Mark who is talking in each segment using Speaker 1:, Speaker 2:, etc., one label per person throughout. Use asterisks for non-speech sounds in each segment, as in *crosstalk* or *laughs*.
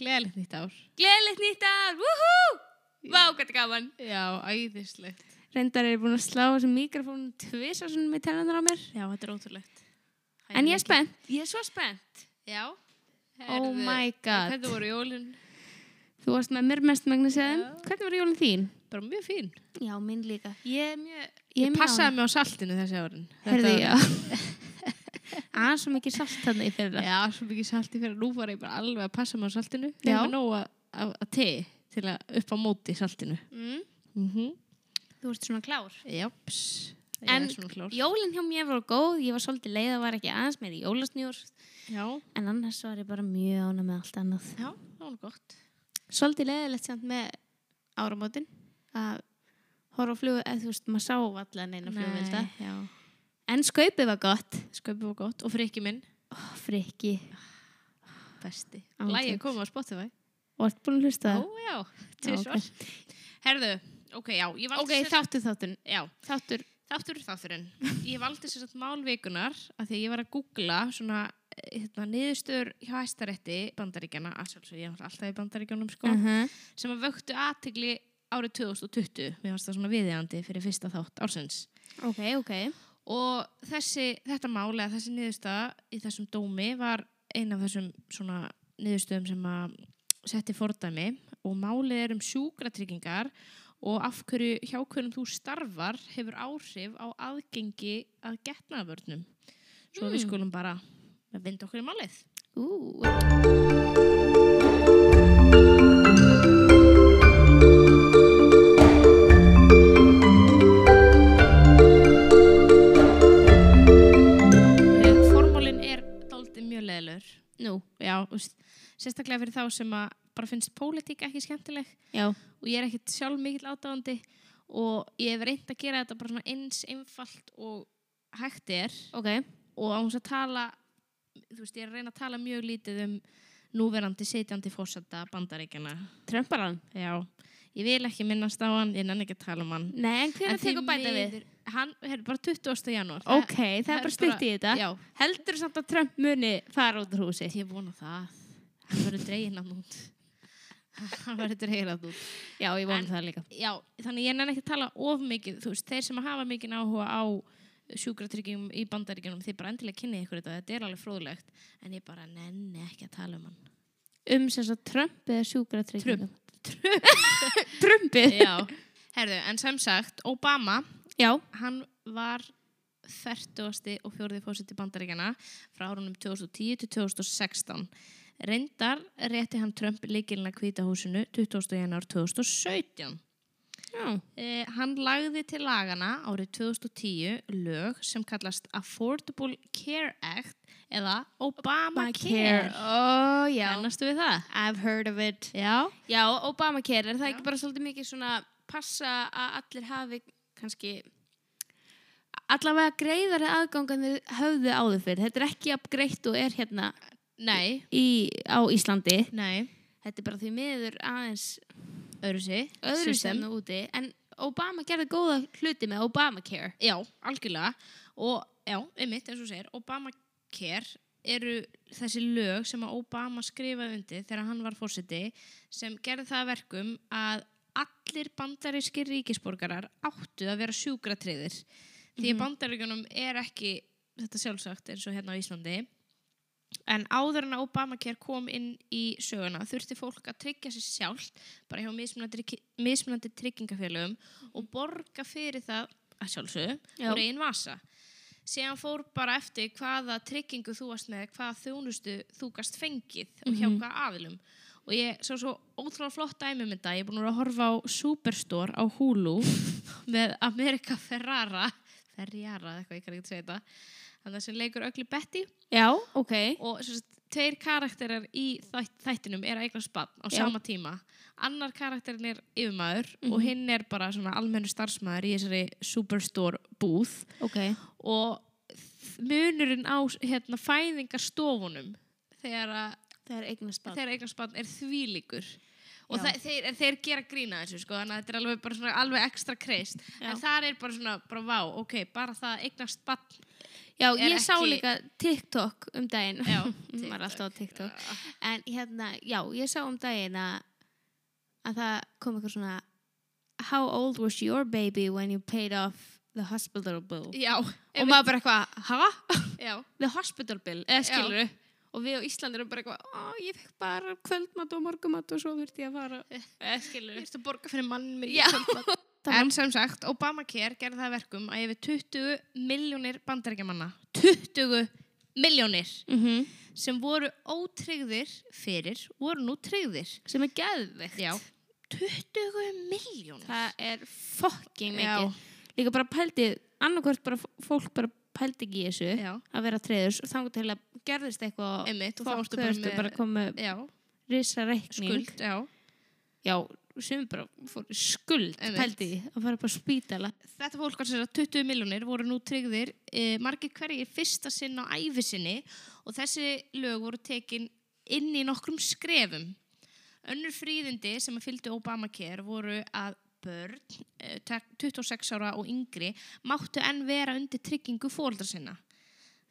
Speaker 1: Gleðilegt nýtt ár.
Speaker 2: Gleðilegt nýtt ár, wúhú! Vá, hvað þetta er gaman.
Speaker 1: Já, æðislegt.
Speaker 2: Reyndar er búin að slá þessum mikrofónum tvisa svona með tennanar á mér.
Speaker 1: Já, þetta er ótrúlegt.
Speaker 2: En ég er spennt. Ég er svo spennt.
Speaker 1: Já.
Speaker 2: Oh my god.
Speaker 1: Hvernig voru jólinn?
Speaker 2: Þú varst með mér mest megnis eða?
Speaker 1: Já.
Speaker 2: Hvernig var jólun þín?
Speaker 1: Bara mjög fín.
Speaker 2: Já, minn líka.
Speaker 1: Ég er mjög...
Speaker 2: Ég
Speaker 1: Ég,
Speaker 2: er mjög
Speaker 1: passaði mig á saltinu þessi árin.
Speaker 2: Herði,
Speaker 1: var-
Speaker 2: já. *laughs* Aðeins svo mikið salt þarna í fyrra.
Speaker 1: Já, svo mikið salti fyrir nú var ég bara alveg að passa mig á saltinu.
Speaker 2: Já.
Speaker 1: Ég var nóg að- að að te til að upp á móti saltinu.
Speaker 2: Mm,
Speaker 1: Mm
Speaker 2: þú ert svona klár.
Speaker 1: Japs. Ég
Speaker 2: En-
Speaker 1: er svona klár.
Speaker 2: Jólinn hjá mér var góð, ég var svolítið leið að var ekki aðeins með í jólasnjór
Speaker 1: Já.
Speaker 2: en annars var ég bara mjög ána með allt annað.
Speaker 1: Já, það var gott.
Speaker 2: Svolítið leiðilegt samt með áramótin að horfa á flugu, eða þú veist, maður sá allan einu flugvelda.
Speaker 1: Nei, já.
Speaker 2: En skaupið var gott.
Speaker 1: Sköpum var gott. Og frikki minn.
Speaker 2: Ó, frikki.
Speaker 1: Besti.
Speaker 2: Ándjóks.
Speaker 1: Lægið koma á Spotify.
Speaker 2: Og ert búin að hlusta
Speaker 1: Já,
Speaker 2: það?
Speaker 1: já,
Speaker 2: Já, ok.
Speaker 1: tvisvar. Herðu, ok, já, ég valdi
Speaker 2: Ok, þáttur þáttun.
Speaker 1: Já,
Speaker 2: Þáttur.
Speaker 1: þáttur er þátturinn. Ég valdi sér satt málvikunar af því að ég var að googla svona eh, hérna, niðurstöður hjá hæstarétti bandaríkjana, að sjálfsög ég var alltaf í bandaríkjunum sko,
Speaker 2: -huh.
Speaker 1: sem að vöktu aðtegli árið 2020. Mér varst það svona viðjandi fyrir fyrsta þátt ársins.
Speaker 2: Ok, ok.
Speaker 1: Og þessi, þetta mál eða þessi niðurstaða í þessum dómi var ein af þessum svona niðurstöðum sem að setti fordæmi og málið er um sjúkratryggingar og af hverju hjá hverjum þú starfar hefur áhrif á aðgengi að getnaðvörnum. Svo við skulum bara vinda okkur í málið.
Speaker 2: Ú.
Speaker 1: Eh, Formálin er dálítið mjög leðlur.
Speaker 2: Nú.
Speaker 1: Já, þú veist, sérstaklega fyrir þá sem að bara finnst pólitík ekki skemmtileg
Speaker 2: Já.
Speaker 1: og ég er ekkert sjálf mikill átáðandi og ég hef reynd að gera þetta bara svona eins einfalt og hægt er
Speaker 2: Ok.
Speaker 1: og án þess að tala þú veist, ég er að reyna að tala mjög lítið um núverandi sitjandi fórsetta bandaríkjana
Speaker 2: Trömparan.
Speaker 1: já, ég vil ekki minnast á hann ég nenni ekki að tala um hann
Speaker 2: Nei, en hvernig
Speaker 1: En því
Speaker 2: tekur bæta við?
Speaker 1: miður- hann er bara 20. janúar
Speaker 2: Ok, það er bara stutt í þetta.
Speaker 1: já,
Speaker 2: Heldur samt að Trump muni fara út úr húsi?
Speaker 1: ég vona það hann verður dregin að nút hann verður dregin að nút
Speaker 2: Já, ég vona
Speaker 1: En-
Speaker 2: það líka.
Speaker 1: já, þannig ég nenni ekki að tala of mikið þú veist, þeir sem hafa mikið áhuga á sjúkratryggjum í bandaríkjunum þeir bara endilega kynnið ykkur þetta, þetta er alveg fróðlegt en ég bara nenni ekki að tala um hann
Speaker 2: Um sem svo Trump eða sjúkratryggingum?
Speaker 1: Trump.
Speaker 2: *laughs* Trumpið?
Speaker 1: já, herðu, en sem sagt Obama,
Speaker 2: Já.
Speaker 1: hann var 40. og 4. fórseti bandaríkjana frá árunum 2010 til 2016 reyndar rétti hann Trump líkilina kvítahúsinu 20. januar 2017
Speaker 2: Já.
Speaker 1: Eh, hann lagði til lagana árið 2010 lög sem kallast Affordable Care Act eða Obamacare.
Speaker 2: Ó, Oh, já.
Speaker 1: Kannastu við það?
Speaker 2: I've heard of it.
Speaker 1: Já.
Speaker 2: Já, Obamacare, er það
Speaker 1: Já.
Speaker 2: ekki bara svolítið mikið svona passa að allir hafi kannski allavega greiðari aðgangan þau höfðu áður fyrir. Þetta er ekki að greitt og er hérna
Speaker 1: Nei,
Speaker 2: í, á Íslandi.
Speaker 1: nei,
Speaker 2: Þetta er bara því miður aðeins
Speaker 1: öðru sig.
Speaker 2: öðru sem það úti. En Obama gerði góða hluti með Obamacare.
Speaker 1: Já, algjörlega. Og já, einmitt eins og þú segir, Obamacare eru þessi lög sem að Obama skrifaði undir þegar hann var fórseti sem gerði það að verkum að allir bandaríski ríkisborgarar áttu að vera sjúkratriðir. Því mm
Speaker 2: Mhm.
Speaker 1: bandaríkunum er ekki þetta sjálfsagt eins og hérna á Íslandi. En áður en að Obamacare kom inn í söguna þurfti fólk að tryggja sér sjálft bara hjá mismunandi, ríki- mismunandi tryggingafélögum og borga fyrir það að sjálfsögðu
Speaker 2: Já.
Speaker 1: úr einn vasa. Síðan fór bara eftir hvaða tryggingu þú varst með, hvaða þjónustu þú gast fengið og hjá
Speaker 2: Mhm.
Speaker 1: hvaða aðilum. Og ég svo svo ótrúlega flott dæmi um þetta, ég er búin að vera að horfa á Superstore á
Speaker 2: *laughs*
Speaker 1: Hulu með America Ferrara, Ferrara, eitthvað ég kann ekki að segja þetta, þannig að sem leikur ögli Betty
Speaker 2: Já, ok.
Speaker 1: og sem sagt, tveir karakterar í þætt, þættinum er að eignast bann á
Speaker 2: Já.
Speaker 1: sama tíma annar karakterin er yfirmaður
Speaker 2: Mhm.
Speaker 1: og hinn er bara svona almennu starfsmaður í þessari superstore búð
Speaker 2: Ok.
Speaker 1: og þ- munurinn á hérna, fæðingastofunum þegar, að,
Speaker 2: Það er eignast
Speaker 1: þegar eignast bann er þvílíkur og
Speaker 2: Já.
Speaker 1: það, þeir, en þeir gera grína þessu sko, þannig að þetta er alveg, bara svona, alveg ekstra kreist
Speaker 2: Já.
Speaker 1: en þar er bara svona, bara vá, ok, bara það að eignast bann
Speaker 2: Já,
Speaker 1: Er
Speaker 2: ég sá
Speaker 1: ekki-
Speaker 2: líka TikTok um daginn. *laughs*
Speaker 1: Já,
Speaker 2: maður er
Speaker 1: TikTok.
Speaker 2: alltaf á TikTok. En hérna, já, ég sá um daginn að, að það kom eitthvað svona How old was your baby when you paid off the hospital bill?
Speaker 1: já,
Speaker 2: og maður bara eitthvað, hæ?
Speaker 1: *laughs* já,
Speaker 2: The hospital bill, eða skilur Og við á Íslandi erum bara eitthvað, ó, ég fekk bara kvöldmat og morgumat og svo þurfti ég að fara. Eða skilur
Speaker 1: ég erst að borga fyrir mann mér
Speaker 2: Já.
Speaker 1: Eh, *laughs* en sem sagt, Obamacare gerði það að verkum að yfir 20 miljónir bandarækjamanna 20 miljónir sem voru ótryggðir fyrir, voru nú tryggðir
Speaker 2: Sem er geðveikt.
Speaker 1: já, 20 miljónir
Speaker 2: Það er fucking
Speaker 1: Já.
Speaker 2: mikið. Líka bara pældi, annarkvort bara f- fólk bara pældi ekki í þessu.
Speaker 1: já,
Speaker 2: að vera treyður og þangur til að gerðist eitthvað
Speaker 1: Einmitt, og þá
Speaker 2: og
Speaker 1: ertu
Speaker 2: þá
Speaker 1: bara
Speaker 2: ertu
Speaker 1: með-
Speaker 2: bara að koma með
Speaker 1: já,
Speaker 2: risa reikning
Speaker 1: skuld já.
Speaker 2: já, sem bara fór í skuld
Speaker 1: Einmitt.
Speaker 2: pældi því, að fara bara á spítala
Speaker 1: þetta fólk var sér að 20 miljónir voru nú tryggðir e, margir hverjir fyrsta sinn á æfisinni og þessi lög voru tekin inn í nokkrum skrefum önnur fríðindi sem að fylgdu Obamacare voru að börn eh, tek- 26 ára og yngri máttu enn vera undir tryggingu fóreldra sinna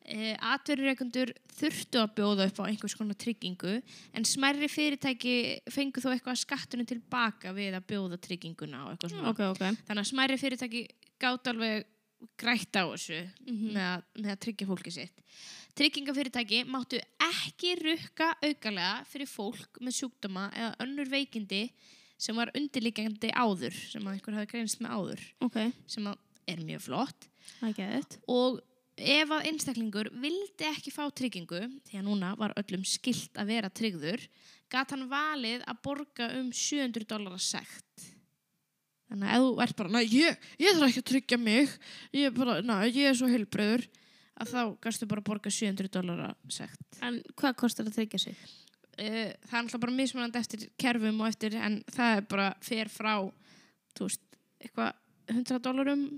Speaker 1: Eh, atvinnureikundur þurftu að bjóða upp á einhvers konar tryggingu en smærri fyrirtæki fengu þó eitthvað af skattunum tilbaka við að bjóða trygginguna og eitthvað svona
Speaker 2: ok, ok
Speaker 1: þannig að smæri fyrirtæki gátt alveg grætt á þessu
Speaker 2: Mm.
Speaker 1: með, að, með að tryggja fólki sitt. Tryggingafyrirtæki máttu ekki rukka aukalega fyrir fólk með sjúkdóma eða önnur veikindi sem var undirliggjandi áður, sem að einhver hafi greinst með áður,
Speaker 2: ok,
Speaker 1: sem að er mjög flott
Speaker 2: það er geðið
Speaker 1: og ef að einstaklingur vildi ekki fá tryggingu, því að núna var öllum skilt að vera tryggður, gat hann valið að borga um 700 dólar sekt. Þannig að ef þú ert bara, næ, ég, ég þarf ekki að tryggja mig, ég er bara, næ, ég er svo heilbröður, að þá gastu bara að borga 700 dólar sekt.
Speaker 2: en hvað kostar að tryggja sig?
Speaker 1: Uh, það er alltaf bara mismunandi eftir kerfum og eftir, en það er bara fer frá, þú veist, eitthvað 100 dólarum,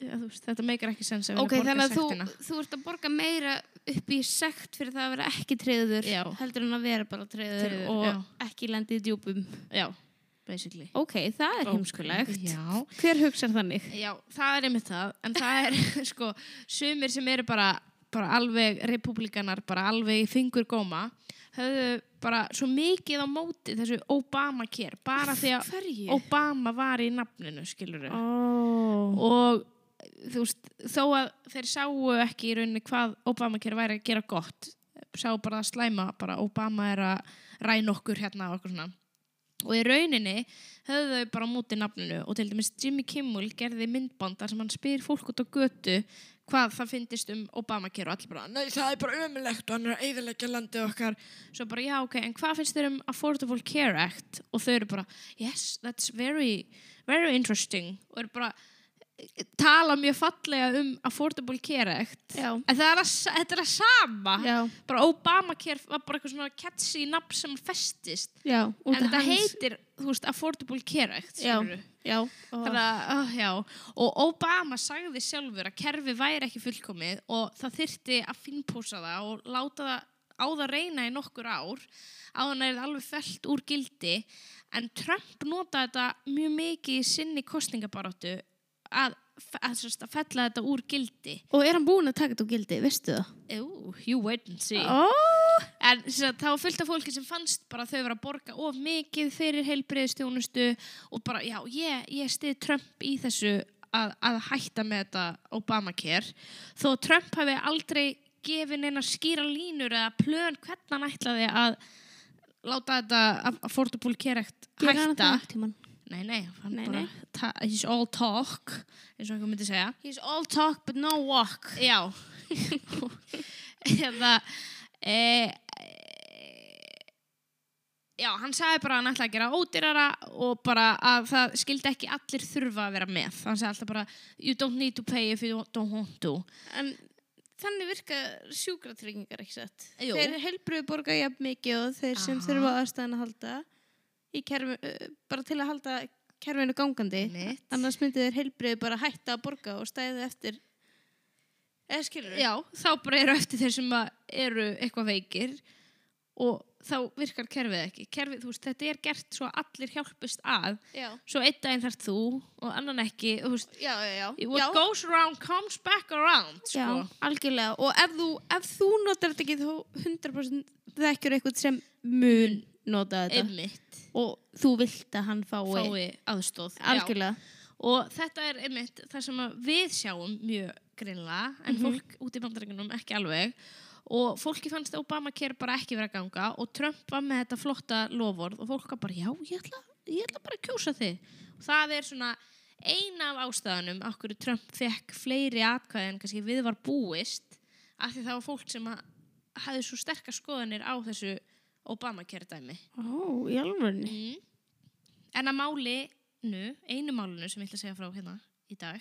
Speaker 1: Ja, þú veist, þetta meikar ekki sens að vilja
Speaker 2: ok,
Speaker 1: borga
Speaker 2: þannig að
Speaker 1: sektina.
Speaker 2: þú, þú ert að borga meira upp í sekt fyrir það að vera ekki treyður
Speaker 1: Já.
Speaker 2: heldur en að vera bara treyður,
Speaker 1: Tryggður,
Speaker 2: og
Speaker 1: já.
Speaker 2: ekki lendi í djúpum
Speaker 1: Já, basically
Speaker 2: ok, það er heimskulegt
Speaker 1: Já.
Speaker 2: hver hugsar þannig?
Speaker 1: Já, það er einmitt það En það er *laughs* sko Sumir sem eru bara, bara alveg republikanar Bara alveg í fingur góma Höfðu bara svo mikið á móti Þessu Obama kér Bara því að
Speaker 2: hverju?
Speaker 1: Obama var í nafninu Skilur við
Speaker 2: Oh.
Speaker 1: Og þú veist Þó að þeir sáu ekki í rauninni Hvað Obama kér væri að gera gott Sáu bara að slæma Bara Obama er að ræna okkur hérna Og okkur svona og í rauninni höfðu þau bara á móti nafninu og til dæmis Jimmy Kimmel gerði myndbanda sem hann spyr fólk út á götu hvað það finnist um Obamacare og allir bara, nei það er bara ömulegt og hann er að eyðileggja landið okkar svo bara, já ok, en hvað finnst þau um Affordable Care Act og þau eru bara, yes, that's very very interesting og eru bara tala mjög fallega um Affordable Care Act
Speaker 2: Já.
Speaker 1: en það er að, þetta er að sama
Speaker 2: Já.
Speaker 1: bara Obamacare var bara eitthvað svona catchy nafn sem festist
Speaker 2: Já, út
Speaker 1: en
Speaker 2: af
Speaker 1: þetta
Speaker 2: hans-
Speaker 1: heitir, þú veist, Affordable Care Act
Speaker 2: já,
Speaker 1: skilurðu.
Speaker 2: já,
Speaker 1: Þannig að, oh, já, og Obama sagði sjálfur að kerfi væri ekki fullkomið og það þyrfti að finnpúsa það og láta það á það reyna í nokkur ár á þannig að það alveg felt úr gildi en Trump notaði þetta mjög mikið í sinni kostningabaráttu að, að, sérst, að fella þetta úr gildi
Speaker 2: Og er hann búinn að taka þetta úr gildi, veistu það?
Speaker 1: Ooh, you wait and see
Speaker 2: Oh.
Speaker 1: En sem sagt, það var fullt af fólki sem fannst bara að þau verið að borga of mikið fyrir heilbreyðstjónustu og bara, já, ég, ég stiði Trump í þessu að, að hætta með þetta Obamacare. Þó að Trump hafi aldrei gefið neina skýra línur eða plön hvernig hann ætlaði að láta þetta af- affordable care act hætta. Nei, nei, hann
Speaker 2: Nei,
Speaker 1: bara,
Speaker 2: nei.
Speaker 1: ta- he's all talk, eins og einhver myndi segja.
Speaker 2: He's all talk but no walk.
Speaker 1: Já Eða e, Já, hann sagði bara að hann ætlaði að gera ódýrara og bara að það skildi ekki allir þurfa að vera með hann sagði alltaf bara You don't need to pay if you don't want to
Speaker 2: En þannig virka sjúkratryggingar, ekki satt?
Speaker 1: Jú.
Speaker 2: Þeir helbriðu borga jafn mikið og þeir sem
Speaker 1: Aha.
Speaker 2: þurfa aðstæðan að halda í kerfi, uh, bara til að halda kerfinu gangandi.
Speaker 1: Einmitt.
Speaker 2: Annars myndi þeir helbriðu bara hætta að borga og stæði eftir. Eða skilur
Speaker 1: Já, þá bara eru eftir þeir sem að eru eitthvað veikir og þá virkar kerfið ekki kerfið, þú veist, þetta er gert svo að allir hjálpust að
Speaker 3: Já,
Speaker 1: svo einn daginn þarf þú og annan ekki þú veist,
Speaker 3: já, já, já.
Speaker 1: what
Speaker 3: já.
Speaker 1: goes around comes back around
Speaker 2: Já,
Speaker 1: sko.
Speaker 3: Algjörlega, og ef þú, ef þú notar þetta ekki þá 100% þekkjur eitthvað sem mun nota þetta
Speaker 1: einmitt
Speaker 3: og þú vilt að hann fái,
Speaker 1: fái aðstóð
Speaker 3: algjörlega
Speaker 1: og þetta er einmitt það sem að við sjáum mjög grinnlega en fólk út í bandarækjunum ekki alveg og fólki fannst Obamacare bara ekki vera að ganga og Trump var með þetta flotta loford og fólk var bara já, ég ætla, ég ætla bara að kjósa þig og það er svona eina af ástæðanum af hverju Trump fekk fleiri atkvæði en kannski við var búist af því það var fólk sem að hafði svo sterkar skoðanir á þessu Obamacare dæmi
Speaker 3: Ó, í alvörni
Speaker 1: Mm. En að málinu, einu málinu sem ég ætla að segja frá hérna í dag,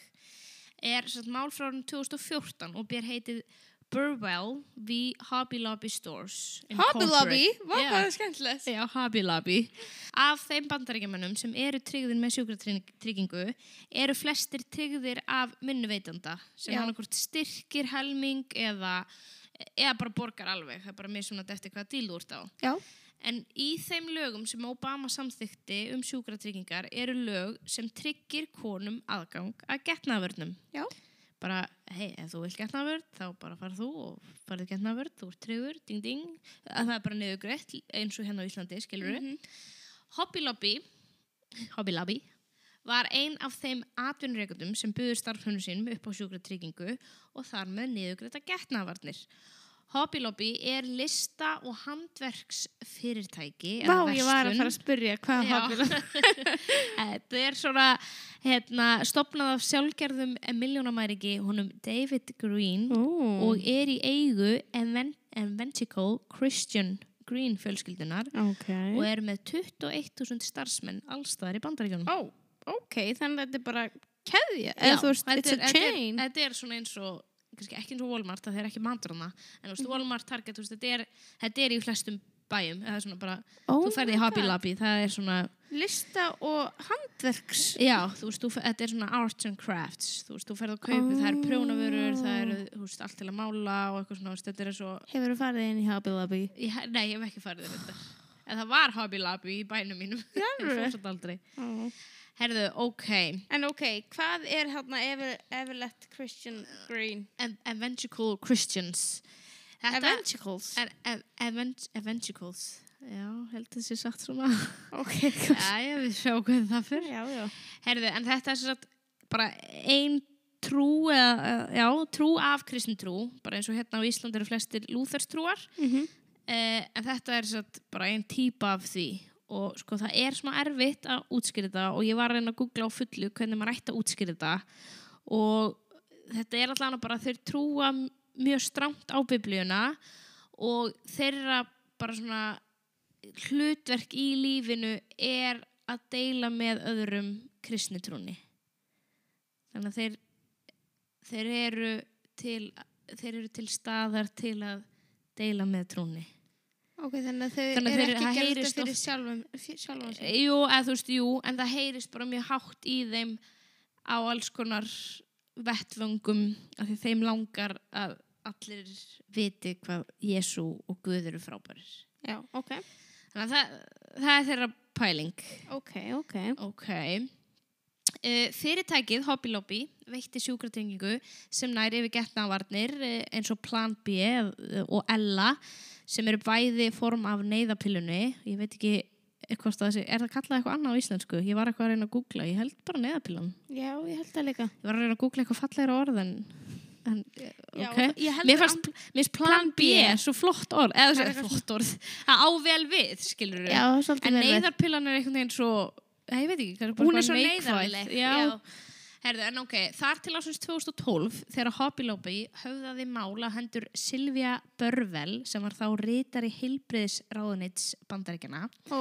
Speaker 1: er satt, mál frá árinu 2014 og bér heitið Burwell v. Hobby Lobby Stores.
Speaker 3: Hobby Lobby, var
Speaker 1: Já.
Speaker 3: það skemmtilegt
Speaker 1: Já, Hobby Lobby. Af þeim bandaríkjamennum sem eru tryggðir með sjúkratryggingu eru flestir tryggðir af minnuveitanda sem
Speaker 3: Já.
Speaker 1: hann okkur styrkir helming eða, eða bara borgar alveg. Það er bara mismunandi eftir hvaða díl þú ert á.
Speaker 3: Já,
Speaker 1: En í þeim lögum sem Obama samþykti um sjúkratryggingar eru lög sem tryggir konum aðgang að getnaðvörnum.
Speaker 3: Já.
Speaker 1: Bara, hei, ef þú vilt getnaðvörn, þá bara farð þú og farið getnaðvörn, þú ert tryggur, ding, ding. Að það er bara niður greitt eins og hérna á Íslandi, skilur við.
Speaker 3: Mhm.
Speaker 1: Hobby Lobby, Hobby Lobby, var ein af þeim atvinnureikundum sem buður starfhönnu sínum upp á sjúkratryggingu og þar með niðurgreita getnaðvarnir. Hobby Lobby er lista og handverksfyrirtæki
Speaker 3: Vá,
Speaker 1: eða
Speaker 3: ég var að
Speaker 1: verslun.
Speaker 3: fara að spyrja hvað
Speaker 1: Já.
Speaker 3: Hobby Lobby
Speaker 1: *laughs* Þetta er svona hérna, stopnað af sjálfgerðum miljónamæriki honum David
Speaker 3: Mm.
Speaker 1: Green
Speaker 3: Ó,
Speaker 1: og er í eigu Aven- Aventical Christian Green fjölskyldunar
Speaker 3: ok
Speaker 1: og er með 21.000 starfsmenn allstæðar í bandaríkjónum.
Speaker 3: Ó, ok, þannig að þetta er bara keðja, eða þú veist, it's a chain
Speaker 1: Þetta er, þetta er svona eins og, kannski ekki eins og Walmart, það er ekki mandrana, en þú
Speaker 3: Mhm.
Speaker 1: veist, Walmart, Target, þú veist, þetta er, þetta er í flestum bæjum, það er svona bara,
Speaker 3: Ó,
Speaker 1: þú ferði í Hobby Lobby, það er svona,
Speaker 3: Lista og handverks
Speaker 1: já, þú veist, þú, fer- þetta er svona arts and crafts, þú veist, þú ferði að kaupa, það er prjónavörur, það er, þú veist, allt til að mála og eitthvað svona, þú veist, þetta er svo,
Speaker 3: Hefur þú farið inn í Hobby Lobby?
Speaker 1: ég, nei, ég hef ekki farið þér þetta, en það var Hobby Lobby í bænum mínum, *laughs* ég fór
Speaker 3: alvöru?
Speaker 1: svolítið aldrei.
Speaker 3: Ó
Speaker 1: Herðu, ok,
Speaker 3: En ok, hvað er hérna Everlett Christian Green?
Speaker 1: Ev- Evangelical Christians
Speaker 3: Evangelicals?
Speaker 1: er, ev, event, Evangelicals Já, held að sé sagt svona
Speaker 3: Ok,
Speaker 1: *laughs* Jæja, við sjáum hvað það fyrir
Speaker 3: já, já.
Speaker 1: Herðu, en þetta er svo sagt bara ein trú eða, já, trú af kristin trú bara eins og hérna á Íslandi eru flestir lúðarstrúar
Speaker 3: Mhm.
Speaker 1: eh, en þetta er satt bara einn típa af því og sko það er smá erfitt að útskýra þetta og ég var að reyna að googla á fullu hvernig maður ætti að útskýra þetta og þetta er allan bara að þeir trúa m- mjög stramt á biblíuna og þeirra bara svona hlutverk í lífinu er að deila með öðrum kristnitrúni þannig að þeir þeir eru til þeir eru til staðar til að deila með trúni
Speaker 3: Ok, þannig að þau
Speaker 1: Þannig að
Speaker 3: eru
Speaker 1: þeir-
Speaker 3: ekki
Speaker 1: það
Speaker 3: gerðið
Speaker 1: heyrist
Speaker 3: fyrir
Speaker 1: oft-
Speaker 3: sjálfum, fyrir sjálfum sig.
Speaker 1: Jú, eða þú veist, jú, en það heyrist bara mjög hátt í þeim á alls konar vettvöngum af því þeim langar að allir viti hvað Jésu og Guð eru frábærir.
Speaker 3: Já, ok.
Speaker 1: Þannig að það, það er þeirra pæling.
Speaker 3: Ok, ok.
Speaker 1: Ok. Uh, fyrirtækið Hobby Lobby veitti sjúkratengingu sem nær yfir getnavarnir uh, eins og Plan B eh, og Ella sem eru bæði form af neyðapillunni. Ég veit ekki eh, hvort það sé, er það kallað eitthvað annað á íslensku? Ég var eitthvað að reyna að googla, ég held bara neyðapillan.
Speaker 3: Já, ég held það líka.
Speaker 1: Ég var að reyna að googla eitthvað fallegra orð en, en eh,
Speaker 3: Já,
Speaker 1: ok.
Speaker 3: ég held
Speaker 1: Mér
Speaker 3: að
Speaker 1: fannst, mér fannst Plan
Speaker 3: Plan
Speaker 1: B,
Speaker 3: B.
Speaker 1: svo flott orð,
Speaker 3: Það
Speaker 1: eða
Speaker 3: er
Speaker 1: svo
Speaker 3: eitthvað
Speaker 1: flott orð, það á vel við, skilur
Speaker 3: Já, svolítið
Speaker 1: En
Speaker 3: vel við.
Speaker 1: neyðarpillan er einhvern veginn svo Nei, ég veit ekki, hvað er bara
Speaker 2: Hún er
Speaker 1: eitthvað
Speaker 2: svo
Speaker 1: neikvætt.
Speaker 2: neyðarleg,
Speaker 1: Já.
Speaker 2: já.
Speaker 1: Herðu, en ok, þar til ásins 2012 þegar Hobby Lobby höfðaði mála hendur Silvia Börvel sem var þá rítari heilbriðsráðunits bandaríkjana.
Speaker 3: Ó,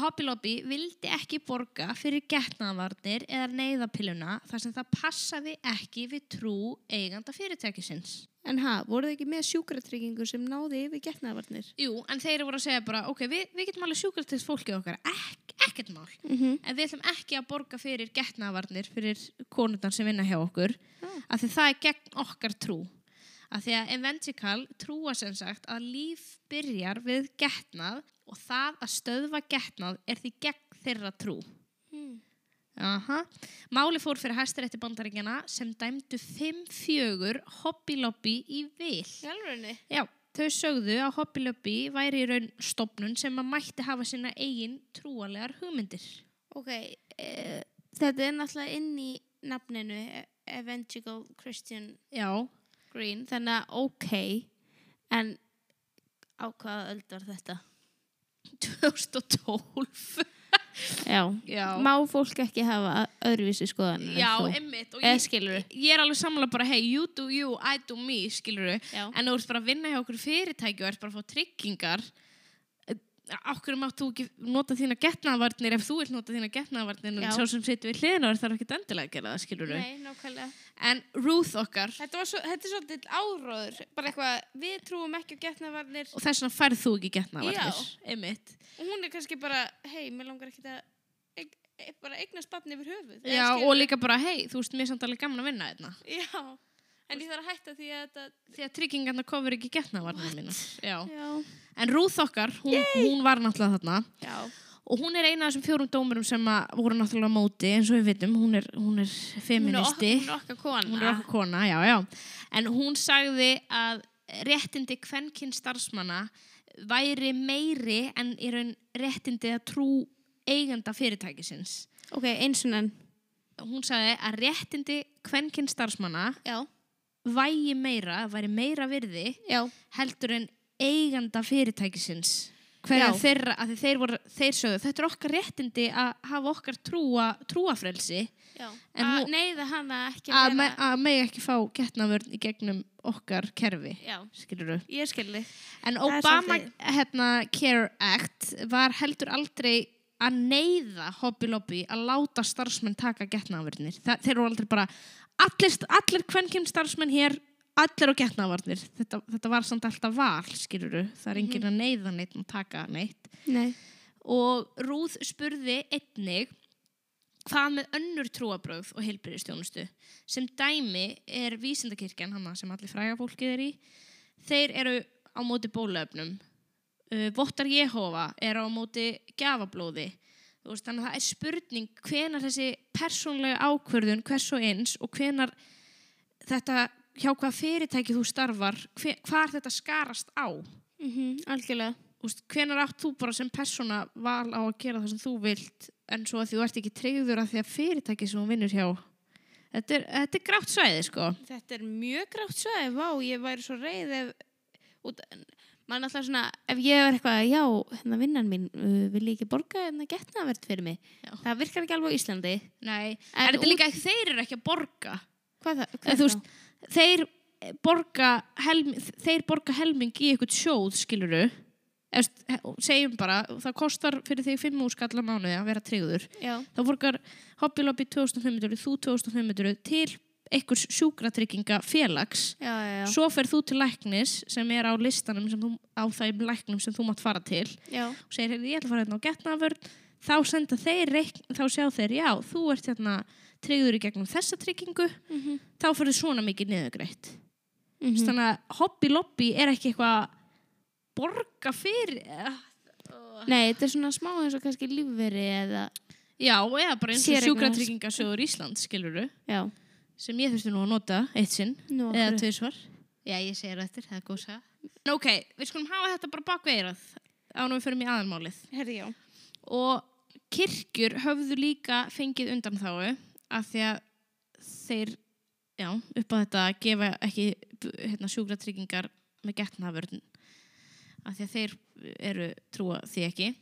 Speaker 1: Hobby Lobby vildi ekki borga fyrir getnaðvarnir eða neyðapilluna þar sem það passaði ekki við trú eiganda fyrirtækisins.
Speaker 3: en ha, voruð þið ekki með sjúkratryggingu sem náði yfir getnaðvarnir?
Speaker 1: Jú, en þeir voru að segja bara, ok, við, við getum alveg sjúkratryggt fólkið okkar, Ek, ekkert mál.
Speaker 3: Mhm.
Speaker 1: En við ætlum ekki að borga fyrir getnaðvarnir fyrir konundan sem vinna hjá okkur, af því það er gegn okkar trú. að því að Eventical trúa sem sagt að líf byrjar við getnað og það að stöðva getnað er því gegn þeirra trú.
Speaker 3: Hmm.
Speaker 1: Aha. Máli fór fyrir hæstarétti bandaríkjana sem dæmdu 5-4 Hobby Lobby í vil.
Speaker 2: Hjálfurni?
Speaker 1: Já, þau sögðu að Hobby Lobby væri í raun stopnun sem að mætti hafa sína eigin trúalegar hugmyndir.
Speaker 2: Ok, uh, þetta er náttúrulega inn í nafninu E- Evangelical Christian
Speaker 1: Já,
Speaker 2: Green, þannig að ok, en á hvaða öld var þetta?
Speaker 1: 2012.
Speaker 2: Já.
Speaker 1: Já.
Speaker 2: Má fólk ekki hafa öðruvísi skoðan?
Speaker 1: Já, emmitt.
Speaker 2: Eða skilurðu?
Speaker 1: Ég er alveg sammála bara, hey, you do you, I do me, skilur
Speaker 2: Já.
Speaker 1: En þú ert bara að vinna hjá okkur fyrirtæki og ert bara að fá tryggingar. Okkur mátt þú ekki nota þína getnaðvarnir ef þú vilt nota þína getnaðvarnir
Speaker 2: Já.
Speaker 1: en sá sem situr við hliðina þar þarf ekki endilega að gera það, skilur
Speaker 2: Nei, nákvæmlega.
Speaker 1: En Ruth okkar,
Speaker 3: Þetta, var svo, þetta er svolítið áróður, bara eitthvað, við trúum ekki á getnavarnir
Speaker 1: og þess vegna færð þú ekki getnaðvarnir.
Speaker 3: Já.
Speaker 1: Emmitt.
Speaker 3: og hún er kannski bara, hei, mér langar ekki að eig- e- bara eignast batni yfir höfuð. Eða
Speaker 1: Já,
Speaker 3: skilur-
Speaker 1: og líka bara, hey, þú veist, mér er samt alveg gaman að vinna þérna.
Speaker 3: Já, en ég þarf að hætta því að þetta...
Speaker 1: Því að tryggingarna kofur ekki getnaðvarnir mína. Já.
Speaker 2: Já.
Speaker 1: En Ruth okkar, hún, hún var náttúrulega þarna.
Speaker 3: Já.
Speaker 1: Og hún er eina af þessum fjórum dómurum sem að voru náttúrulega á móti, eins og við vitum, hún er, hún er feministi,
Speaker 2: Hún er okkar kona.
Speaker 1: hún er okkur kona, já, já. En hún sagði að réttindi kvenkinn starfsmanna væri meiri en í raun réttindi að trú eigenda fyrirtækisins.
Speaker 2: Ok, eins og enn.
Speaker 1: Hún sagði að réttindi kvenkinn starfsmanna
Speaker 2: Já.
Speaker 1: vægi meira, væri meira virði
Speaker 2: Já.
Speaker 1: heldur en eiganda fyrirtækisins hverja
Speaker 2: Já.
Speaker 1: þeirra, að þeir voru þeir sögðu, þetta er okkar réttindi að hafa okkar trúa, trúafrelsi
Speaker 2: Já.
Speaker 1: En
Speaker 2: Að
Speaker 1: hún-
Speaker 2: neyða hana ekki að
Speaker 1: að
Speaker 2: vera...
Speaker 1: me, að megi ekki fá getnavörn í gegnum okkar kerfi
Speaker 2: Já.
Speaker 1: skilurðu.
Speaker 2: Ég skilði.
Speaker 1: En
Speaker 2: er
Speaker 1: Obama
Speaker 2: svolítið-
Speaker 1: hérna, Care Act var heldur aldrei að neyða Hobby Lobby að láta starfsmenn taka getnavörnir. Þa, þeir eru aldrei bara allir, allir kvenkim starfsmenn hér allir á getnavörnir. Þetta, þetta var samt alltaf val, skilurðu. Það er enginn Mhm. að neyða neitt að taka neitt.
Speaker 2: Nei.
Speaker 1: Og Rúð spurði einnig hvað með önnur trúabröð og heilbyrðistjónustu sem dæmi er vísindakirkjan hana sem allir fræga fólkið er í þeir eru á móti bólaöfnum uh, Vottar Jehova er á móti gafablóði Þú veist, þannig að það er spurning hvenar þessi persónlega ákvörðun hvers og eins og hvenar þetta hjá hvað fyrirtæki þú starfar hver, hvar þetta skarast á
Speaker 2: Mm Algjörlega.
Speaker 1: úst, hvenar átt þú bara sem persóna val á að gera það sem þú vilt en svo að því þú ert ekki treyður að því að fyrirtæki sem hún vinnur hjá þetta er, þetta er grátt svæði sko
Speaker 3: Þetta er mjög grátt svæði, vá, ég væri svo reið ef, út,
Speaker 2: Man alltaf svona, ef ég er eitthvað, já, hérna vinnan mín, uh, vil ég ekki borga hérna getnaverð fyrir mig?
Speaker 1: Já.
Speaker 2: Það virkar ekki alveg á Íslandi.
Speaker 1: Nei,
Speaker 2: En
Speaker 1: en þetta
Speaker 2: út- Eh,
Speaker 1: er líka ekki, þeir eru ekki að borga
Speaker 2: Hvað það?
Speaker 1: en, þú veist, þeir eh, borga helming, þeir borga helming í eitthvað sjóð skiluru Efst, segjum bara, það kostar fyrir þig 5 úrskall á mánuði að vera treyður
Speaker 2: Já.
Speaker 1: þá borgar Hobby Lobby 2500 þú 2500 til einhvers sjúkratrygginga félags
Speaker 2: Já, já, já.
Speaker 1: Svo fer þú til læknis sem er á listanum sem þú, á þeim læknum sem þú mátt fara til
Speaker 2: já.
Speaker 1: og segir, "Heyrðu, ég ætla að fara hérna á getnavörn þá senda þeir, reikn, þá sjá þeir já, þú ert hérna tryggður í gegnum þessa tryggingu, þá fyrir svona mikið niðurgreitt. Mm
Speaker 2: Mhm.
Speaker 1: -hmm. Þannig að hobby lobby er ekki eitthvað að borga fyrir eh,
Speaker 2: Nei, þetta er svona smá eins og kannski lífveri eða...
Speaker 1: já, eða bara eins og
Speaker 2: Séreignar-
Speaker 1: sjúkratryggingasjóður Ísland, skiluru,
Speaker 2: Já.
Speaker 1: sem ég þurfti nú að nota eitt sinn.
Speaker 2: Nú,
Speaker 1: Eða
Speaker 2: okkur-
Speaker 1: tvisvar. Já, ég segir eftir, það er góð saga. En ok, við skulum hafa þetta bara bakveirað ánum við förum í aðalmálið.
Speaker 3: herri, já.
Speaker 1: Og kirkjur höfðu líka fengið undan þáu af því að þeir, já, upp á þetta að gefa ekki hérna, sjúkratryggingar með getnaförn af því að þeir eru trúa því ekki.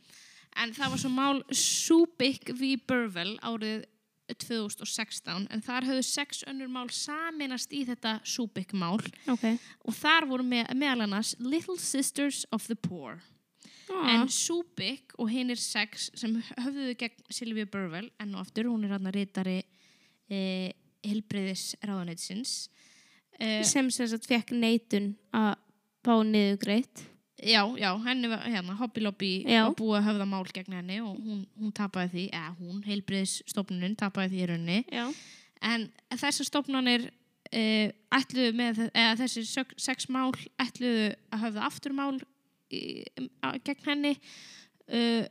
Speaker 1: En það var svo mál Subic v. Burwell árið 2016 en þar höfðu sex önnur mál saminast í þetta Subic mál
Speaker 2: Ok.
Speaker 1: og þar voru með, meðal annars Little Sisters of the Poor
Speaker 2: Ah.
Speaker 1: en Subic og hinn er sex sem höfðuðu gegn Silvíu Burwell enn og aftur, hún er hann að rítari e, helbriðis ráðanætisins e,
Speaker 2: sem sem sagt fekk neitun að fá niðurgreitt.
Speaker 1: já, já, henni var hérna, Hobby Lobby
Speaker 2: Já.
Speaker 1: var búið að höfða mál gegn henni og hún, hún tapaði því, eða hún, helbriðisstofnunum tapaði því í rauninni
Speaker 2: Já.
Speaker 1: en þessar stofnanir uh, ætluðu með þe- eða þessi sög- sex mál ætluðu að höfða aftur mál í, um, á, gegn henni uh,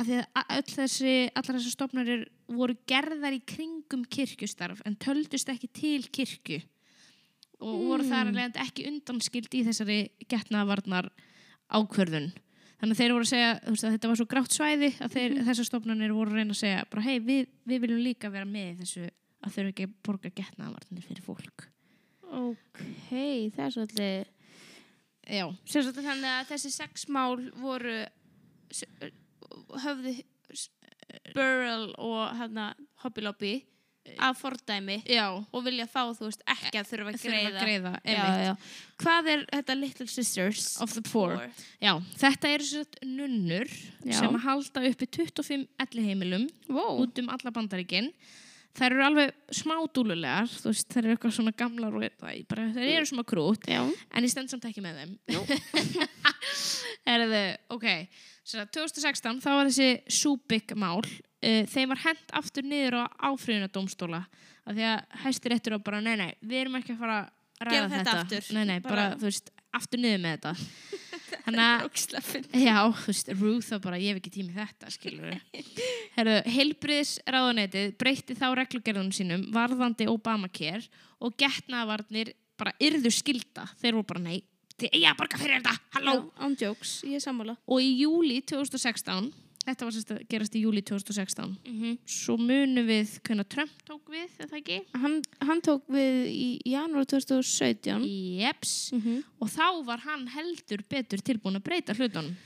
Speaker 1: að því að a- öll þessi allar þessi stofnarir voru gerðar í kringum kirkjustarf en töldust ekki til kirkju og voru þar að leiðandi ekki undanskild í þessari getnaðvarnar ákvörðun þannig að þeir voru að segja þú veist, að þetta var svo grátt svæði að þeir, þessar stofnanir voru að reyna að segja bara hei við, við viljum líka vera með í þessu að þau eru ekki að borga getnaðvarnir fyrir fólk
Speaker 2: Ok, það er svolítið
Speaker 1: já,
Speaker 2: Sem sagt þannig að þessi sex mál voru s- höfðu s- Burrell og hana, Hobby Lobby af fordæmi
Speaker 1: já
Speaker 2: og vilja fá, þú veist, ekki að þurfa að
Speaker 1: greiða,
Speaker 2: greiða,
Speaker 1: greiða
Speaker 2: já,
Speaker 1: einmitt.
Speaker 2: já. Hvað er þetta Little Sisters
Speaker 1: of the poor já, þetta eru svo nunnur
Speaker 2: Já.
Speaker 1: sem halda uppi 25 elliheimilum
Speaker 2: Wow.
Speaker 1: út um alla bandaríkin þær eru alveg smá dúlulegar þú veist, þær eru eitthvað svona gamlar og Æ, bara, þær eru smá krút
Speaker 2: Já.
Speaker 1: en ég stend samt ekki með *laughs* þeim Erðu, ok Svo, 2016 þá var þessi súbygg mál uh, þeim var hent aftur niður á áfríðuna dómstóla af því að hæstir eftir og bara nei nei, við erum ekki að fara að ræða
Speaker 2: Gera þetta aftur.
Speaker 1: nei nei, bara,
Speaker 2: Bara-
Speaker 1: þú veist, aftur niður með
Speaker 2: *laughs*
Speaker 1: þetta þannig að
Speaker 2: Ógslafinn.
Speaker 1: Já, þú veist, Ruth þá bara, ég hef ekki tími í þetta, skilur við. Herðu, heilbriðisráðunetið breytti þá reglugerðunum sínum varðandi Obamacare og getnavarnir bara yrðu skilda. Þeir voru bara, nei, þið eiga að borga fyrir þetta, halló.
Speaker 3: án jokes, ég er sammála.
Speaker 1: Og í júli 2016, þetta var sérst að gerast í júli 2016,
Speaker 2: Mhm.
Speaker 1: svo munum við hvernig Trump tók við, er það ekki?
Speaker 3: Hann, hann tók við í janúar 2017.
Speaker 1: Jeps.
Speaker 2: Mm. Mhm.
Speaker 1: Og þá var hann heldur betur tilbúin að breyta hlutunum.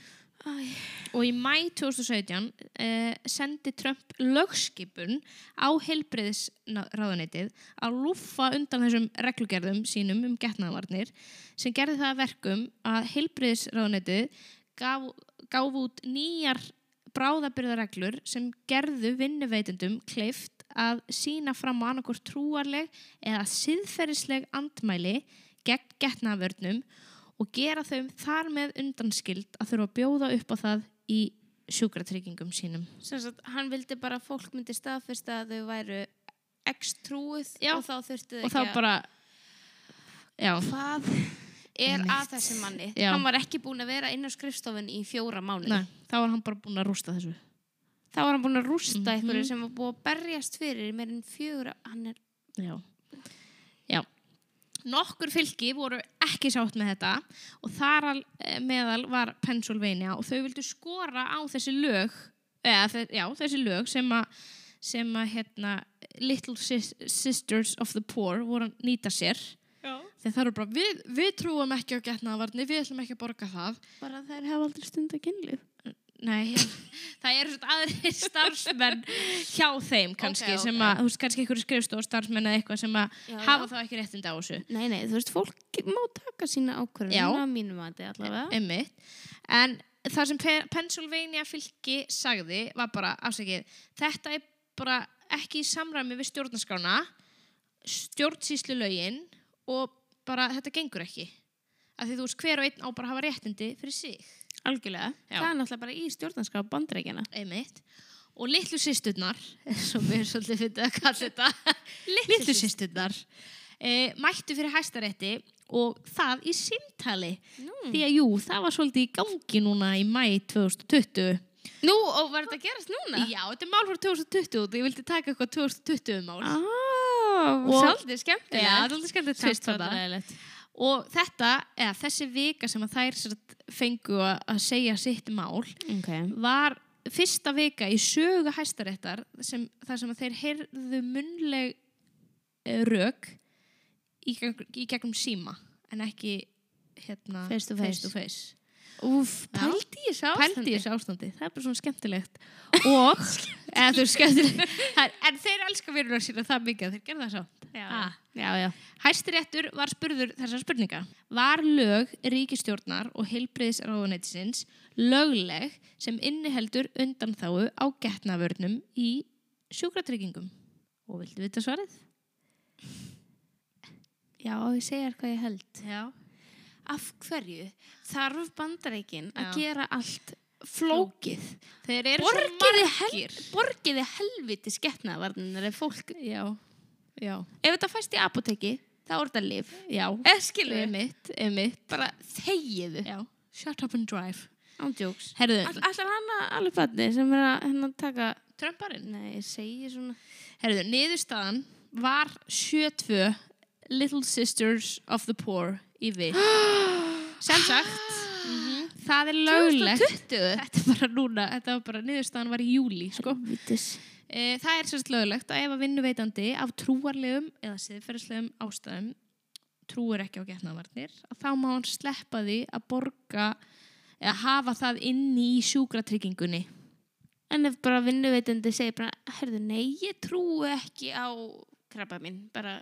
Speaker 3: Æ.
Speaker 1: Og í mæ 2017 uh, sendi Trump lögskipun á heilbriðisráðuneytið að lúffa undan þessum reglugerðum sínum um getnaðvarnir sem gerði það að verkum að heilbriðisráðuneytið gaf, gaf út nýjar bráðabyrðareglur sem gerðu vinnuveitendum kleift að sína fram á annarkort trúarleg eða siðferðisleg andmæli gegn getnaðvörnum og gera þeim þar með undanskild að þurfa að bjóða upp á það í sjúkratryggingum sínum.
Speaker 2: Sem sagt, hann vildi bara að fólk myndi staðfyrst að þau væru ekstrúið
Speaker 1: Já.
Speaker 2: og þá þurftu þau
Speaker 1: Og þá
Speaker 2: ekki að-
Speaker 1: bara, já,
Speaker 2: hvað er
Speaker 1: Einmitt.
Speaker 2: að þessi manni
Speaker 1: Já.
Speaker 2: hann var ekki búin að vera inn á skrifstofun í fjóra mánuði
Speaker 1: nei, þá var hann bara búin að rústa þessu.
Speaker 2: þá var hann búin að rústa mm
Speaker 1: Mhm.
Speaker 2: einhverju sem var búin að berjast fyrir í meirinn fjóra hann er
Speaker 1: Já. Já. Nokkur fylki voru ekki sátt með þetta og þar al- eh, meðal var Pennsylvania og þau vildu skora á þessi lög eða, þe- já, þessi lög sem að sem að hérna Little Sis Sisters of the Poor voru að nýta sér
Speaker 2: Já.
Speaker 1: þegar það eru bara við, við trúum ekki á getnaðvarni við ætlum ekki að borga það
Speaker 3: Bara þær hafa aldrei stund að kynlið.
Speaker 1: Nei, *laughs* það eru svona aðrir starfsmenn hjá þeim kannski
Speaker 2: Ok, ok.
Speaker 1: sem að, þú veist, kannski einhverju skrifst og starfsmenn eða eitthvað sem að
Speaker 2: Já,
Speaker 1: hafa þá ekki réttind á þessu
Speaker 2: nei nei þú veist fólk má taka sína
Speaker 1: Já.
Speaker 2: ákvörðun á mínum að þetta allavega
Speaker 1: Einmitt. En það sem Pe- Pennsylvania fylki sagði var bara afsakið, þetta er bara ekki í samræmi við stjórnarskrána, stjórnsýslu lögin og bara þetta gengur ekki. Af því þú veist hver og einn á bara að hafa réttindi fyrir sig.
Speaker 2: algjörlega
Speaker 1: Já.
Speaker 2: það er náttúrulega bara í stjórnarskraf bandreikina
Speaker 1: Einmitt. Og litlu sýsturnar, sem við erum svolítið fyndið að kalla
Speaker 2: *laughs*
Speaker 1: þetta, litlu sýsturnar, e, mættu fyrir hæstarétti og það í símtali. Því að jú, það var svolítið í gangi núna í mæ 2020.
Speaker 2: nú og var þetta að gerast núna
Speaker 1: Já, þetta er mál frá 2020 og ég vildi taka eitthvað 2020 mál.
Speaker 2: ah,
Speaker 1: Og- Já, það
Speaker 2: svolítið
Speaker 1: er
Speaker 2: skemmtilegt
Speaker 1: alltaf skemmt að
Speaker 2: Samt
Speaker 1: tvist þetta.
Speaker 2: vandræðalegt.
Speaker 1: Og þetta, eða þessi vika sem að þær sem sagt fengu að að segja sitt mál,
Speaker 2: ok
Speaker 1: var fyrsta vika í sögu hæstaréttar sem, þar sem að þeir heyrðu munleg uh, rök í, gegn, í gegnum síma en ekki hérna,
Speaker 2: Face to face.
Speaker 1: face to face.
Speaker 2: Úf,
Speaker 1: Já.
Speaker 2: pældi ég sá
Speaker 1: Pældi í þessu ástandi, það er bara svona skemmtilegt og, eða þú er skemmtilegt það er- en þeir elska verulega sína það mikið að þeir gerða það sátt
Speaker 2: já,
Speaker 1: Ah.
Speaker 2: já, já.
Speaker 1: Hæstiréttur var spurður þessar spurninga. Var lög ríkistjórnar og heilbriðisráðunætisins lögleg sem inniheldur undanþáu á getnavörnum í sjúkratryggingum? Og viltu vita svarið?
Speaker 2: já, ég segir hvað ég held
Speaker 1: Já.
Speaker 2: af hverju þarf bandarækin að
Speaker 1: Já.
Speaker 2: gera allt flókið
Speaker 1: Þeir eru
Speaker 2: borgiði,
Speaker 1: svo
Speaker 2: hel,
Speaker 1: margir.
Speaker 2: borgiði helviti sketnavarnir ef fólk
Speaker 1: Já, já.
Speaker 2: ef þetta fæst í apoteki þá þá er þetta lif
Speaker 1: Já,
Speaker 2: Eskilu,
Speaker 1: emitt, emitt
Speaker 2: bara þegiðu
Speaker 1: Já, shut up and drive
Speaker 2: Ándjóks
Speaker 1: Herðu,
Speaker 2: Allar hann að alveg batni sem er að hennan taka
Speaker 1: Trumparinn
Speaker 2: Nei, ég segi svona
Speaker 1: Herðu, niðurstaðan var 72 Little Sisters of the Poor í *gasps* við Sem sagt Mhm, Það er löglegt Þetta er bara núna, þetta var bara niðurstaðan var í júli sko.
Speaker 2: Vítis
Speaker 1: e, Það er sérst löglegt að ef að vinnuveitandi af trúarlegum eða siðferðslegum ástæðum trúir ekki á getnaðvarnir þá má hann sleppa því að borga eða hafa það inni í sjúkratryggingunni *laughs*
Speaker 2: En ef bara vinnuveitandi segir bara Herðu, nei, ég trúi ekki á krabba minn Bara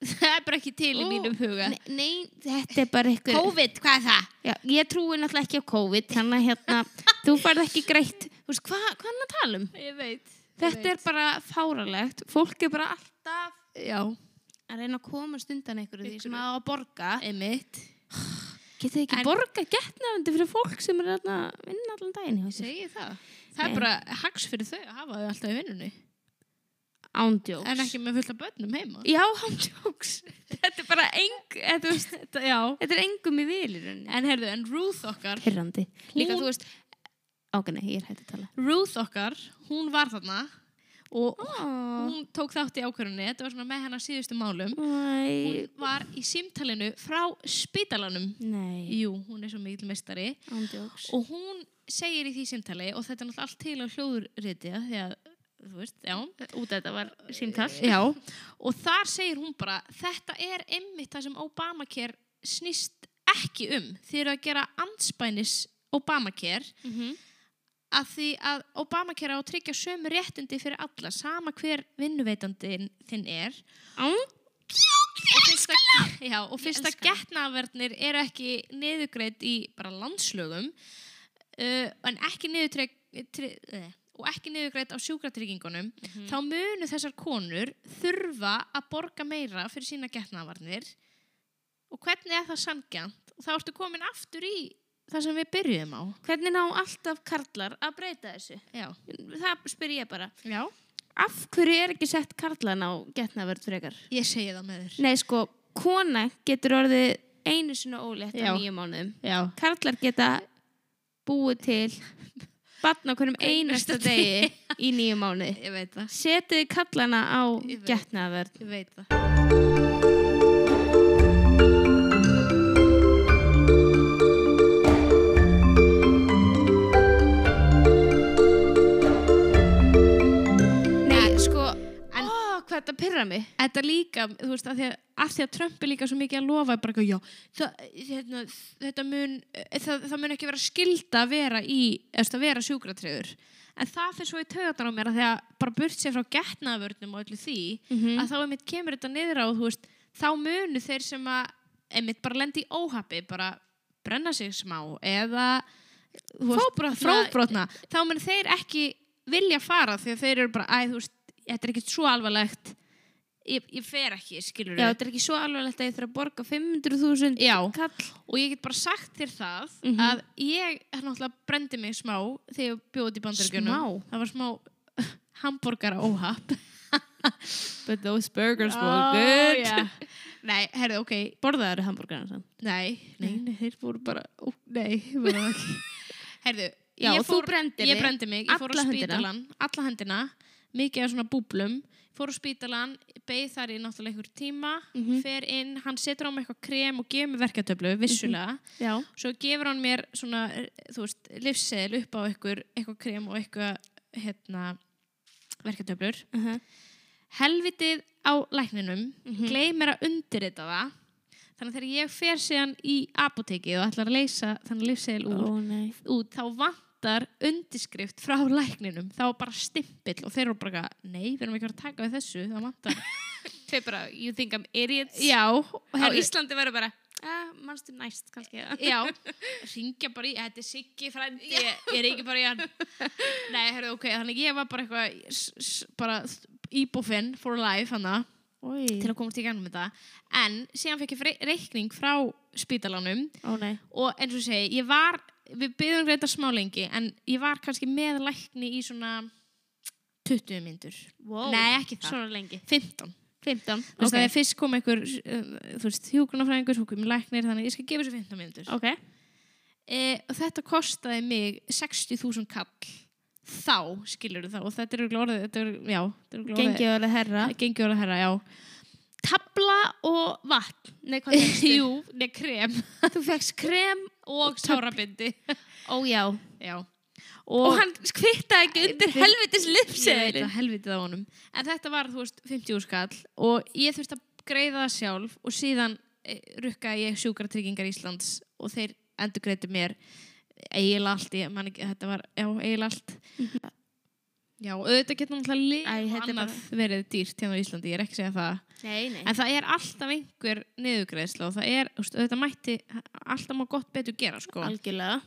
Speaker 1: Það er bara ekki til í
Speaker 2: Ú,
Speaker 1: mínum huga
Speaker 2: Nei, nei, *laughs* þetta er bara eitthvað
Speaker 1: COVID, hvað er það?
Speaker 2: Já, ég trúi náttúrulega ekki á COVID þannig að *laughs* hérna, þú farð ekki greitt þú veist, hvað hva hann að tala um?
Speaker 1: Ég veit
Speaker 2: Þetta er bara fáralegt fólk er bara alltaf
Speaker 1: Já,
Speaker 2: að reyna að komast undan einhverju því
Speaker 1: Einhverju.
Speaker 2: sem á að borga
Speaker 1: einmitt
Speaker 2: Getið þið ekki
Speaker 1: En-
Speaker 2: borga getnafandi fyrir fólk sem er þarna að vinna allan daginn hjá sér?
Speaker 1: Segji það Það
Speaker 2: Nei.
Speaker 1: er bara hags fyrir þau að hafa þau alltaf í vinnunni
Speaker 2: Ándjóks
Speaker 1: En ekki með fullt af börnum heima
Speaker 2: Já, ándjóks *laughs* Þetta er bara eng eða, þú veist,
Speaker 1: Þetta, Já
Speaker 2: Þetta er engum í vilirunni
Speaker 1: En herðu, en Ruth okkar
Speaker 2: Hirrandi Líka
Speaker 1: Hún-
Speaker 2: þú veist Ok, nei, ég er hægt að tala
Speaker 1: Ruth okkar, hún var þarna og
Speaker 2: oh.
Speaker 1: hún tók þátt í ákvörunni þetta var svona með hennar síðustu málum
Speaker 2: Æ,
Speaker 1: hún var í símtalinu frá spítalanum
Speaker 2: Nei,
Speaker 1: Jú, hún er svo mikil meistari
Speaker 2: ándjóks
Speaker 1: og hún segir í því símtali og þetta er náttúrulega allt til á hljóðurriti af því að, þú veist, já
Speaker 2: út að þetta var símtall
Speaker 1: Já, og þar segir hún bara þetta er einmitt það sem Obamacare snýst ekki um þeir eru að gera anspænis Obamacare
Speaker 2: mhm.
Speaker 1: að því að Obamacare á að tryggja sömu réttindi fyrir alla, sama hver vinnuveitandin þinn er og fyrst að, já, og fyrst að
Speaker 2: elska það.
Speaker 1: getnaverðnir eru ekki niðurgreitt í bara landslögum uh, en ekki niðurtrygg tri, eh, og ekki niðurgreitt á sjúkratryggingunum þá munu þessar konur þurfa að borga meira fyrir sína getnavarnir og hvernig er það sangjant og þá ertu komin aftur í það sem við byrjuðum á
Speaker 2: Hvernig ná alltaf karlar að breyta þessu?
Speaker 1: já,
Speaker 2: Það spyr ég bara.
Speaker 1: já.
Speaker 2: Af hverju er ekki sett karlan á getnaverð frekar?
Speaker 1: ég segi það með þér
Speaker 2: Nei, sko, kona getur orðið einu sinna ólétt
Speaker 1: Já.
Speaker 2: á nýju mánuðum.
Speaker 1: já,
Speaker 2: Karlar geta búið til batna hverjum einasta degi í nýju mánuði.
Speaker 1: ég veit það
Speaker 2: Setið kallana á
Speaker 1: Ég veit.
Speaker 2: getnaverð.
Speaker 1: ég veit það
Speaker 2: Nei, sko, en, ó, hvað þetta pyrra mig.
Speaker 1: Þetta líka, þú veist, að því að, að, því að Trump er líka svo mikið að lofa bara eitthvað, já, það, hérna, þetta mun, eh, það, það mun ekki vera skilda að vera í, eftir að vera sjúkratreyður. En það fyrir svo í taugarnar á mér að því að bara burt sér frá getnaðvörnum og öllu því,
Speaker 2: Mhm.
Speaker 1: að þá einmitt kemur þetta niður á, þú veist, þá munu þeir sem að, einmitt bara lendi í óhappi, bara brenna sig smá eða þú veist,
Speaker 2: Fóbrotna.
Speaker 1: fróbrotna, þá mun þeir ekki vilja fara því að þeir eru bara, æ, þú veist, þetta er ekkert svo alvarlegt ég, ég fer ekki, skilur
Speaker 2: Já, þetta er ekki svo alvarlegt að ég þarf að borga 500.000
Speaker 1: Já,
Speaker 2: kall.
Speaker 1: og ég get bara sagt þér það
Speaker 2: Mhm.
Speaker 1: að ég er náttúrulega brendi mig smá þegar ég bjóði í bandaríkjunum.
Speaker 2: Smá?
Speaker 1: Það var smá *laughs* hambúrgara óhapp. Oh,
Speaker 2: But those burgers *laughs*
Speaker 1: Nei, herðu, ok,
Speaker 2: Borðaður hambúrgarna samt.
Speaker 1: nei, nei, nei, þeir voru bara, ó, nei, þeir voru það ekki. herðu,
Speaker 2: Já,
Speaker 1: ég
Speaker 2: og þú brendir
Speaker 1: Ég brendi mig, ég fór á
Speaker 2: Alla höndina.
Speaker 1: spítalan, alla hendina, mikið af svona búblum, fór á spítalan, beigð þar í náttúrulega einhver tíma,
Speaker 2: Mhm.
Speaker 1: fer inn, hann setur á mig eitthvað krem og gefur mér verkatöflu, vissulega,
Speaker 2: Já.
Speaker 1: svo gefur hann mér svona, eh, þú veist, livsseðil upp á eitthvað, eitthvað krem og eitthvað, hérna, verkatöflur.
Speaker 2: Uh-huh.
Speaker 1: Helvitið á lækninum,
Speaker 2: Mhm.
Speaker 1: gleymir að undirrita það, þannig að þegar ég fer síðan í apotekið og ætlar að leysa þannig livsseðil úr,
Speaker 2: Ó nei.
Speaker 1: út þá vantar undirskrift frá lækninum þá var bara stimpill og þeir eru bara eitthvað, nei, við erum ekki að fara að taka við þessu það
Speaker 2: *laughs*
Speaker 1: vantar
Speaker 2: Þau bara, you think I'm idiots.
Speaker 1: já, og
Speaker 2: Á
Speaker 1: herri,
Speaker 2: Íslandi verður bara, ah, mannstu næst kannski. *laughs*
Speaker 1: já ringja bara í, þetta er Siggi frændi ég, ég ringi bara í hann nei, herru, ok, þannig ég var bara eitthvað s- s- bara íbúfinn for life hann að
Speaker 2: Oi.
Speaker 1: til að komast í gangum þetta en síðan fekk ég fre- reikning frá spítalanum
Speaker 2: Ó nei.
Speaker 1: og eins og ég segi, ég var við byggðum greita smá lengi en ég var kannski með lækni í svona 20 myndur,
Speaker 2: Wow.
Speaker 1: nei ekki það
Speaker 2: Svona lengi.
Speaker 1: 15 Þú
Speaker 2: 15,
Speaker 1: veist,
Speaker 2: ok.
Speaker 1: okay. að fyrst kom einhver, uh, þú veist, hjúkunarfræðingur, svo kom læknir, þannig að ég skal gefa þessu 15 minnundur.
Speaker 2: Ok,
Speaker 1: E, og þetta kostaði mig 60.000 kall. Þá, skilur þú það, og þetta er örugglega orðið, þetta er, já, þetta er örugglega orðið.
Speaker 2: gengið alveg herra.
Speaker 1: Gengi orðið herra, já.
Speaker 2: Tabla og *laughs* vatn. Nei, hvað er *laughs*
Speaker 1: Jú, neða krem
Speaker 2: þetta? Þú fegst krem
Speaker 1: og sárabindi.
Speaker 2: Ó já.
Speaker 1: já.
Speaker 2: Og, hann skvittaði ekki undir
Speaker 1: Ég-
Speaker 2: helvitis
Speaker 1: ég veit
Speaker 2: lipseðilin.
Speaker 1: að helvitið á honum en þetta var, þú veist, 50 skall og ég þurfti að greiða það sjálf og síðan eh, rukkaði ég sjúkratryggingar Íslands og þeir endur greiði mér eiginlega allt ég man ekki, þetta var, já, eiginlega allt
Speaker 2: *laughs*
Speaker 1: já, og auðvitað getur náttúrulega
Speaker 2: Æ,
Speaker 1: líf og
Speaker 2: þetta er
Speaker 1: annað verið dýrt hérna á Íslandi, ég er ekki að segja það
Speaker 2: Nei, nei.
Speaker 1: en það er alltaf einhver niðurgreiðsla og það er, þú veist, auðvitað mætti alltaf má gott betur gera, sko
Speaker 2: Algjörlega.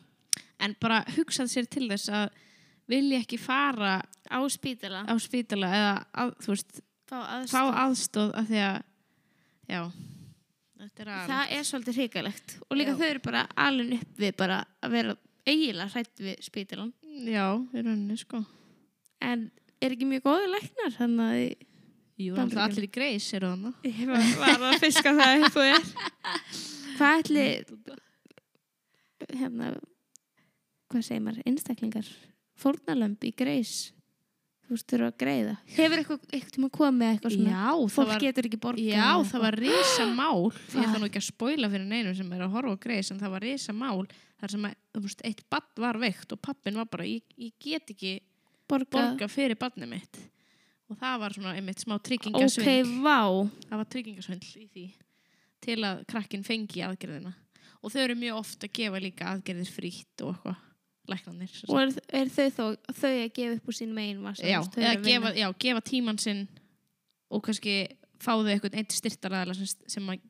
Speaker 1: en bara hugsað sér til þess að vilja ekki fara
Speaker 2: Á spítala.
Speaker 1: á spítala eða að, þú veist,
Speaker 2: Fá
Speaker 1: fá
Speaker 2: aðstoð.
Speaker 1: aðstóð af því að já, þetta er að
Speaker 2: Það er svolítið hrikalegt. Og líka
Speaker 1: Já.
Speaker 2: þau eru bara alveg upp við bara að vera eiginlega hrætt við spítalan.
Speaker 1: já, í rauninni sko
Speaker 2: En er ekki mjög góðið læknar, þannig að þið...
Speaker 1: Jú,
Speaker 2: Bandaríkjunum.
Speaker 1: náttúrulega allir í greis eru þarna
Speaker 3: Ég var, var að fiska það upp og ég.
Speaker 1: *laughs*
Speaker 2: Hvað ætli hérna hvað segir maður, einstaklingar fórnalömb í greis þú veist, þurfa að greiða Hefur eitthvað, eitthvað tíma komið að eitthvað svona
Speaker 1: Já,
Speaker 2: fólk
Speaker 1: var,
Speaker 2: getur ekki borgað
Speaker 1: já,
Speaker 2: eða Ah.
Speaker 1: það var risa mál ég
Speaker 2: Hvað?
Speaker 1: ætla nú ekki að spoila fyrir neinum sem er að horfa á greis en það var risa mál þar sem að, þú veist, eitt barn var veikt og pappin var bara, ég, ég get ekki
Speaker 2: eitthvað. borgað
Speaker 1: borga fyrir barnið mitt og það var svona einmitt smá
Speaker 2: Ok,
Speaker 1: tryggingasvindl
Speaker 2: vá
Speaker 1: það var tryggingasvöndl í því til að krakkin fengi aðgerðina og þau eru mjög oft að gefa líka aðgerðir frítt og eitthvað læknanir sem
Speaker 2: Og
Speaker 1: sagt.
Speaker 2: er, er þau þó þau að gefa upp úr sín megin vasa
Speaker 1: já,
Speaker 2: þú veist, þau eru
Speaker 1: eða
Speaker 2: að vinna.
Speaker 1: gefa, já, gefa tíman sinn og kannski fá þau eitthvað eitt styrtaraðala sem, sem að,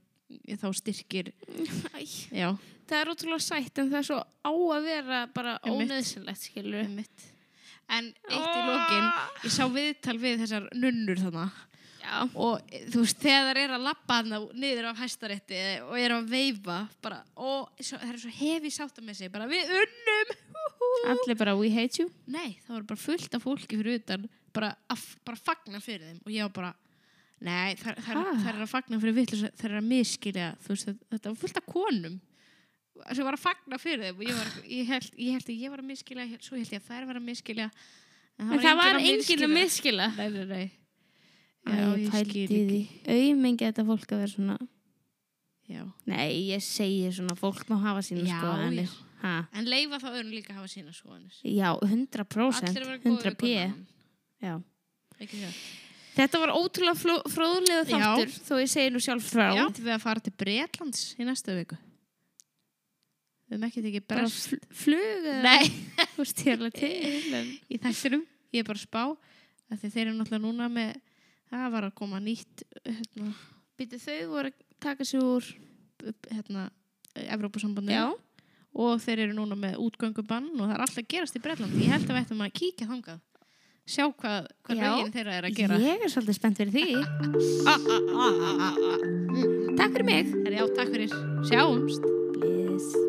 Speaker 1: þá styrkir
Speaker 2: Æ,
Speaker 1: já,
Speaker 2: Það er ótrúlega sætt en það er svo á að vera bara
Speaker 1: Einmitt.
Speaker 2: ónöðsynlegt skilur
Speaker 1: mitt en eitt í lokin ég sá viðtal við þessar nunnur þarna
Speaker 2: Já,
Speaker 1: og e, þú veist, þegar þær eru að labba hana niður af hæstarétti og eru að veifa bara, og svo, það er svo hefi sáttar með sig, bara við unnum húhú.
Speaker 2: allir bara we hate you
Speaker 1: Nei, það var bara fullt af fólki fyrir utan bara að f- bara fagna fyrir þeim og ég var bara Nei, það
Speaker 2: Ha?
Speaker 1: er að fagna fyrir vitt það er að miskilja, þú veist, þetta- þetta var fullt af konum sem var að fagna fyrir þeim og ég, var, ég, held, ég held að ég var að miskilja ég- svo held ég að þær var að miskilja
Speaker 2: En það var enginn að miskila
Speaker 1: Nei, nei, nei
Speaker 2: Æ, ég pældi í því. Auðmengi þetta fólk að vera svona
Speaker 1: Já.
Speaker 2: Nei, ég segi svona, fólk má hafa sína
Speaker 1: Já,
Speaker 2: skoðanir.
Speaker 1: já.
Speaker 2: Ha.
Speaker 1: En leifa þá öðrum líka að hafa sína skoðanir.
Speaker 2: Já, 100%,
Speaker 1: Allir að vera góðir
Speaker 2: 100
Speaker 1: við
Speaker 2: p.
Speaker 1: hvorn annan.
Speaker 2: Já.
Speaker 1: Ekki það.
Speaker 2: Þetta var ótrúlega fló- fróðlega
Speaker 1: Já.
Speaker 2: þáttur, þó ég segi nú sjálf frá.
Speaker 1: Já. Ætlum við að fara til Breitlands í næsta viku. Við höfum ekki tekið
Speaker 2: Bara
Speaker 1: brest.
Speaker 2: fl flug eða-
Speaker 1: Nei,
Speaker 2: Þú veist, ég er
Speaker 1: *laughs*
Speaker 2: alveg til. en-
Speaker 1: í þættinum. Ég er bara að spá. af því Þeir eru náttúrulega núna með, það var að koma nýtt, hérna,
Speaker 2: Býtu þau voru að taka sig úr.
Speaker 1: hérna, Evrópusambandinu. Og þeir eru núna með útgöngubann og það er alltaf að gerast í Breitlandi. Ég held að við ættum að kíkja þangað. Sjá hvað, hvað
Speaker 2: Já.
Speaker 1: lögin þeirra er að gera.
Speaker 2: Ég er svolítið spennt fyrir *laughs* því. Takk fyrir mig.
Speaker 1: Herra, Já, takk fyrir. Sjáumst.
Speaker 2: Bless.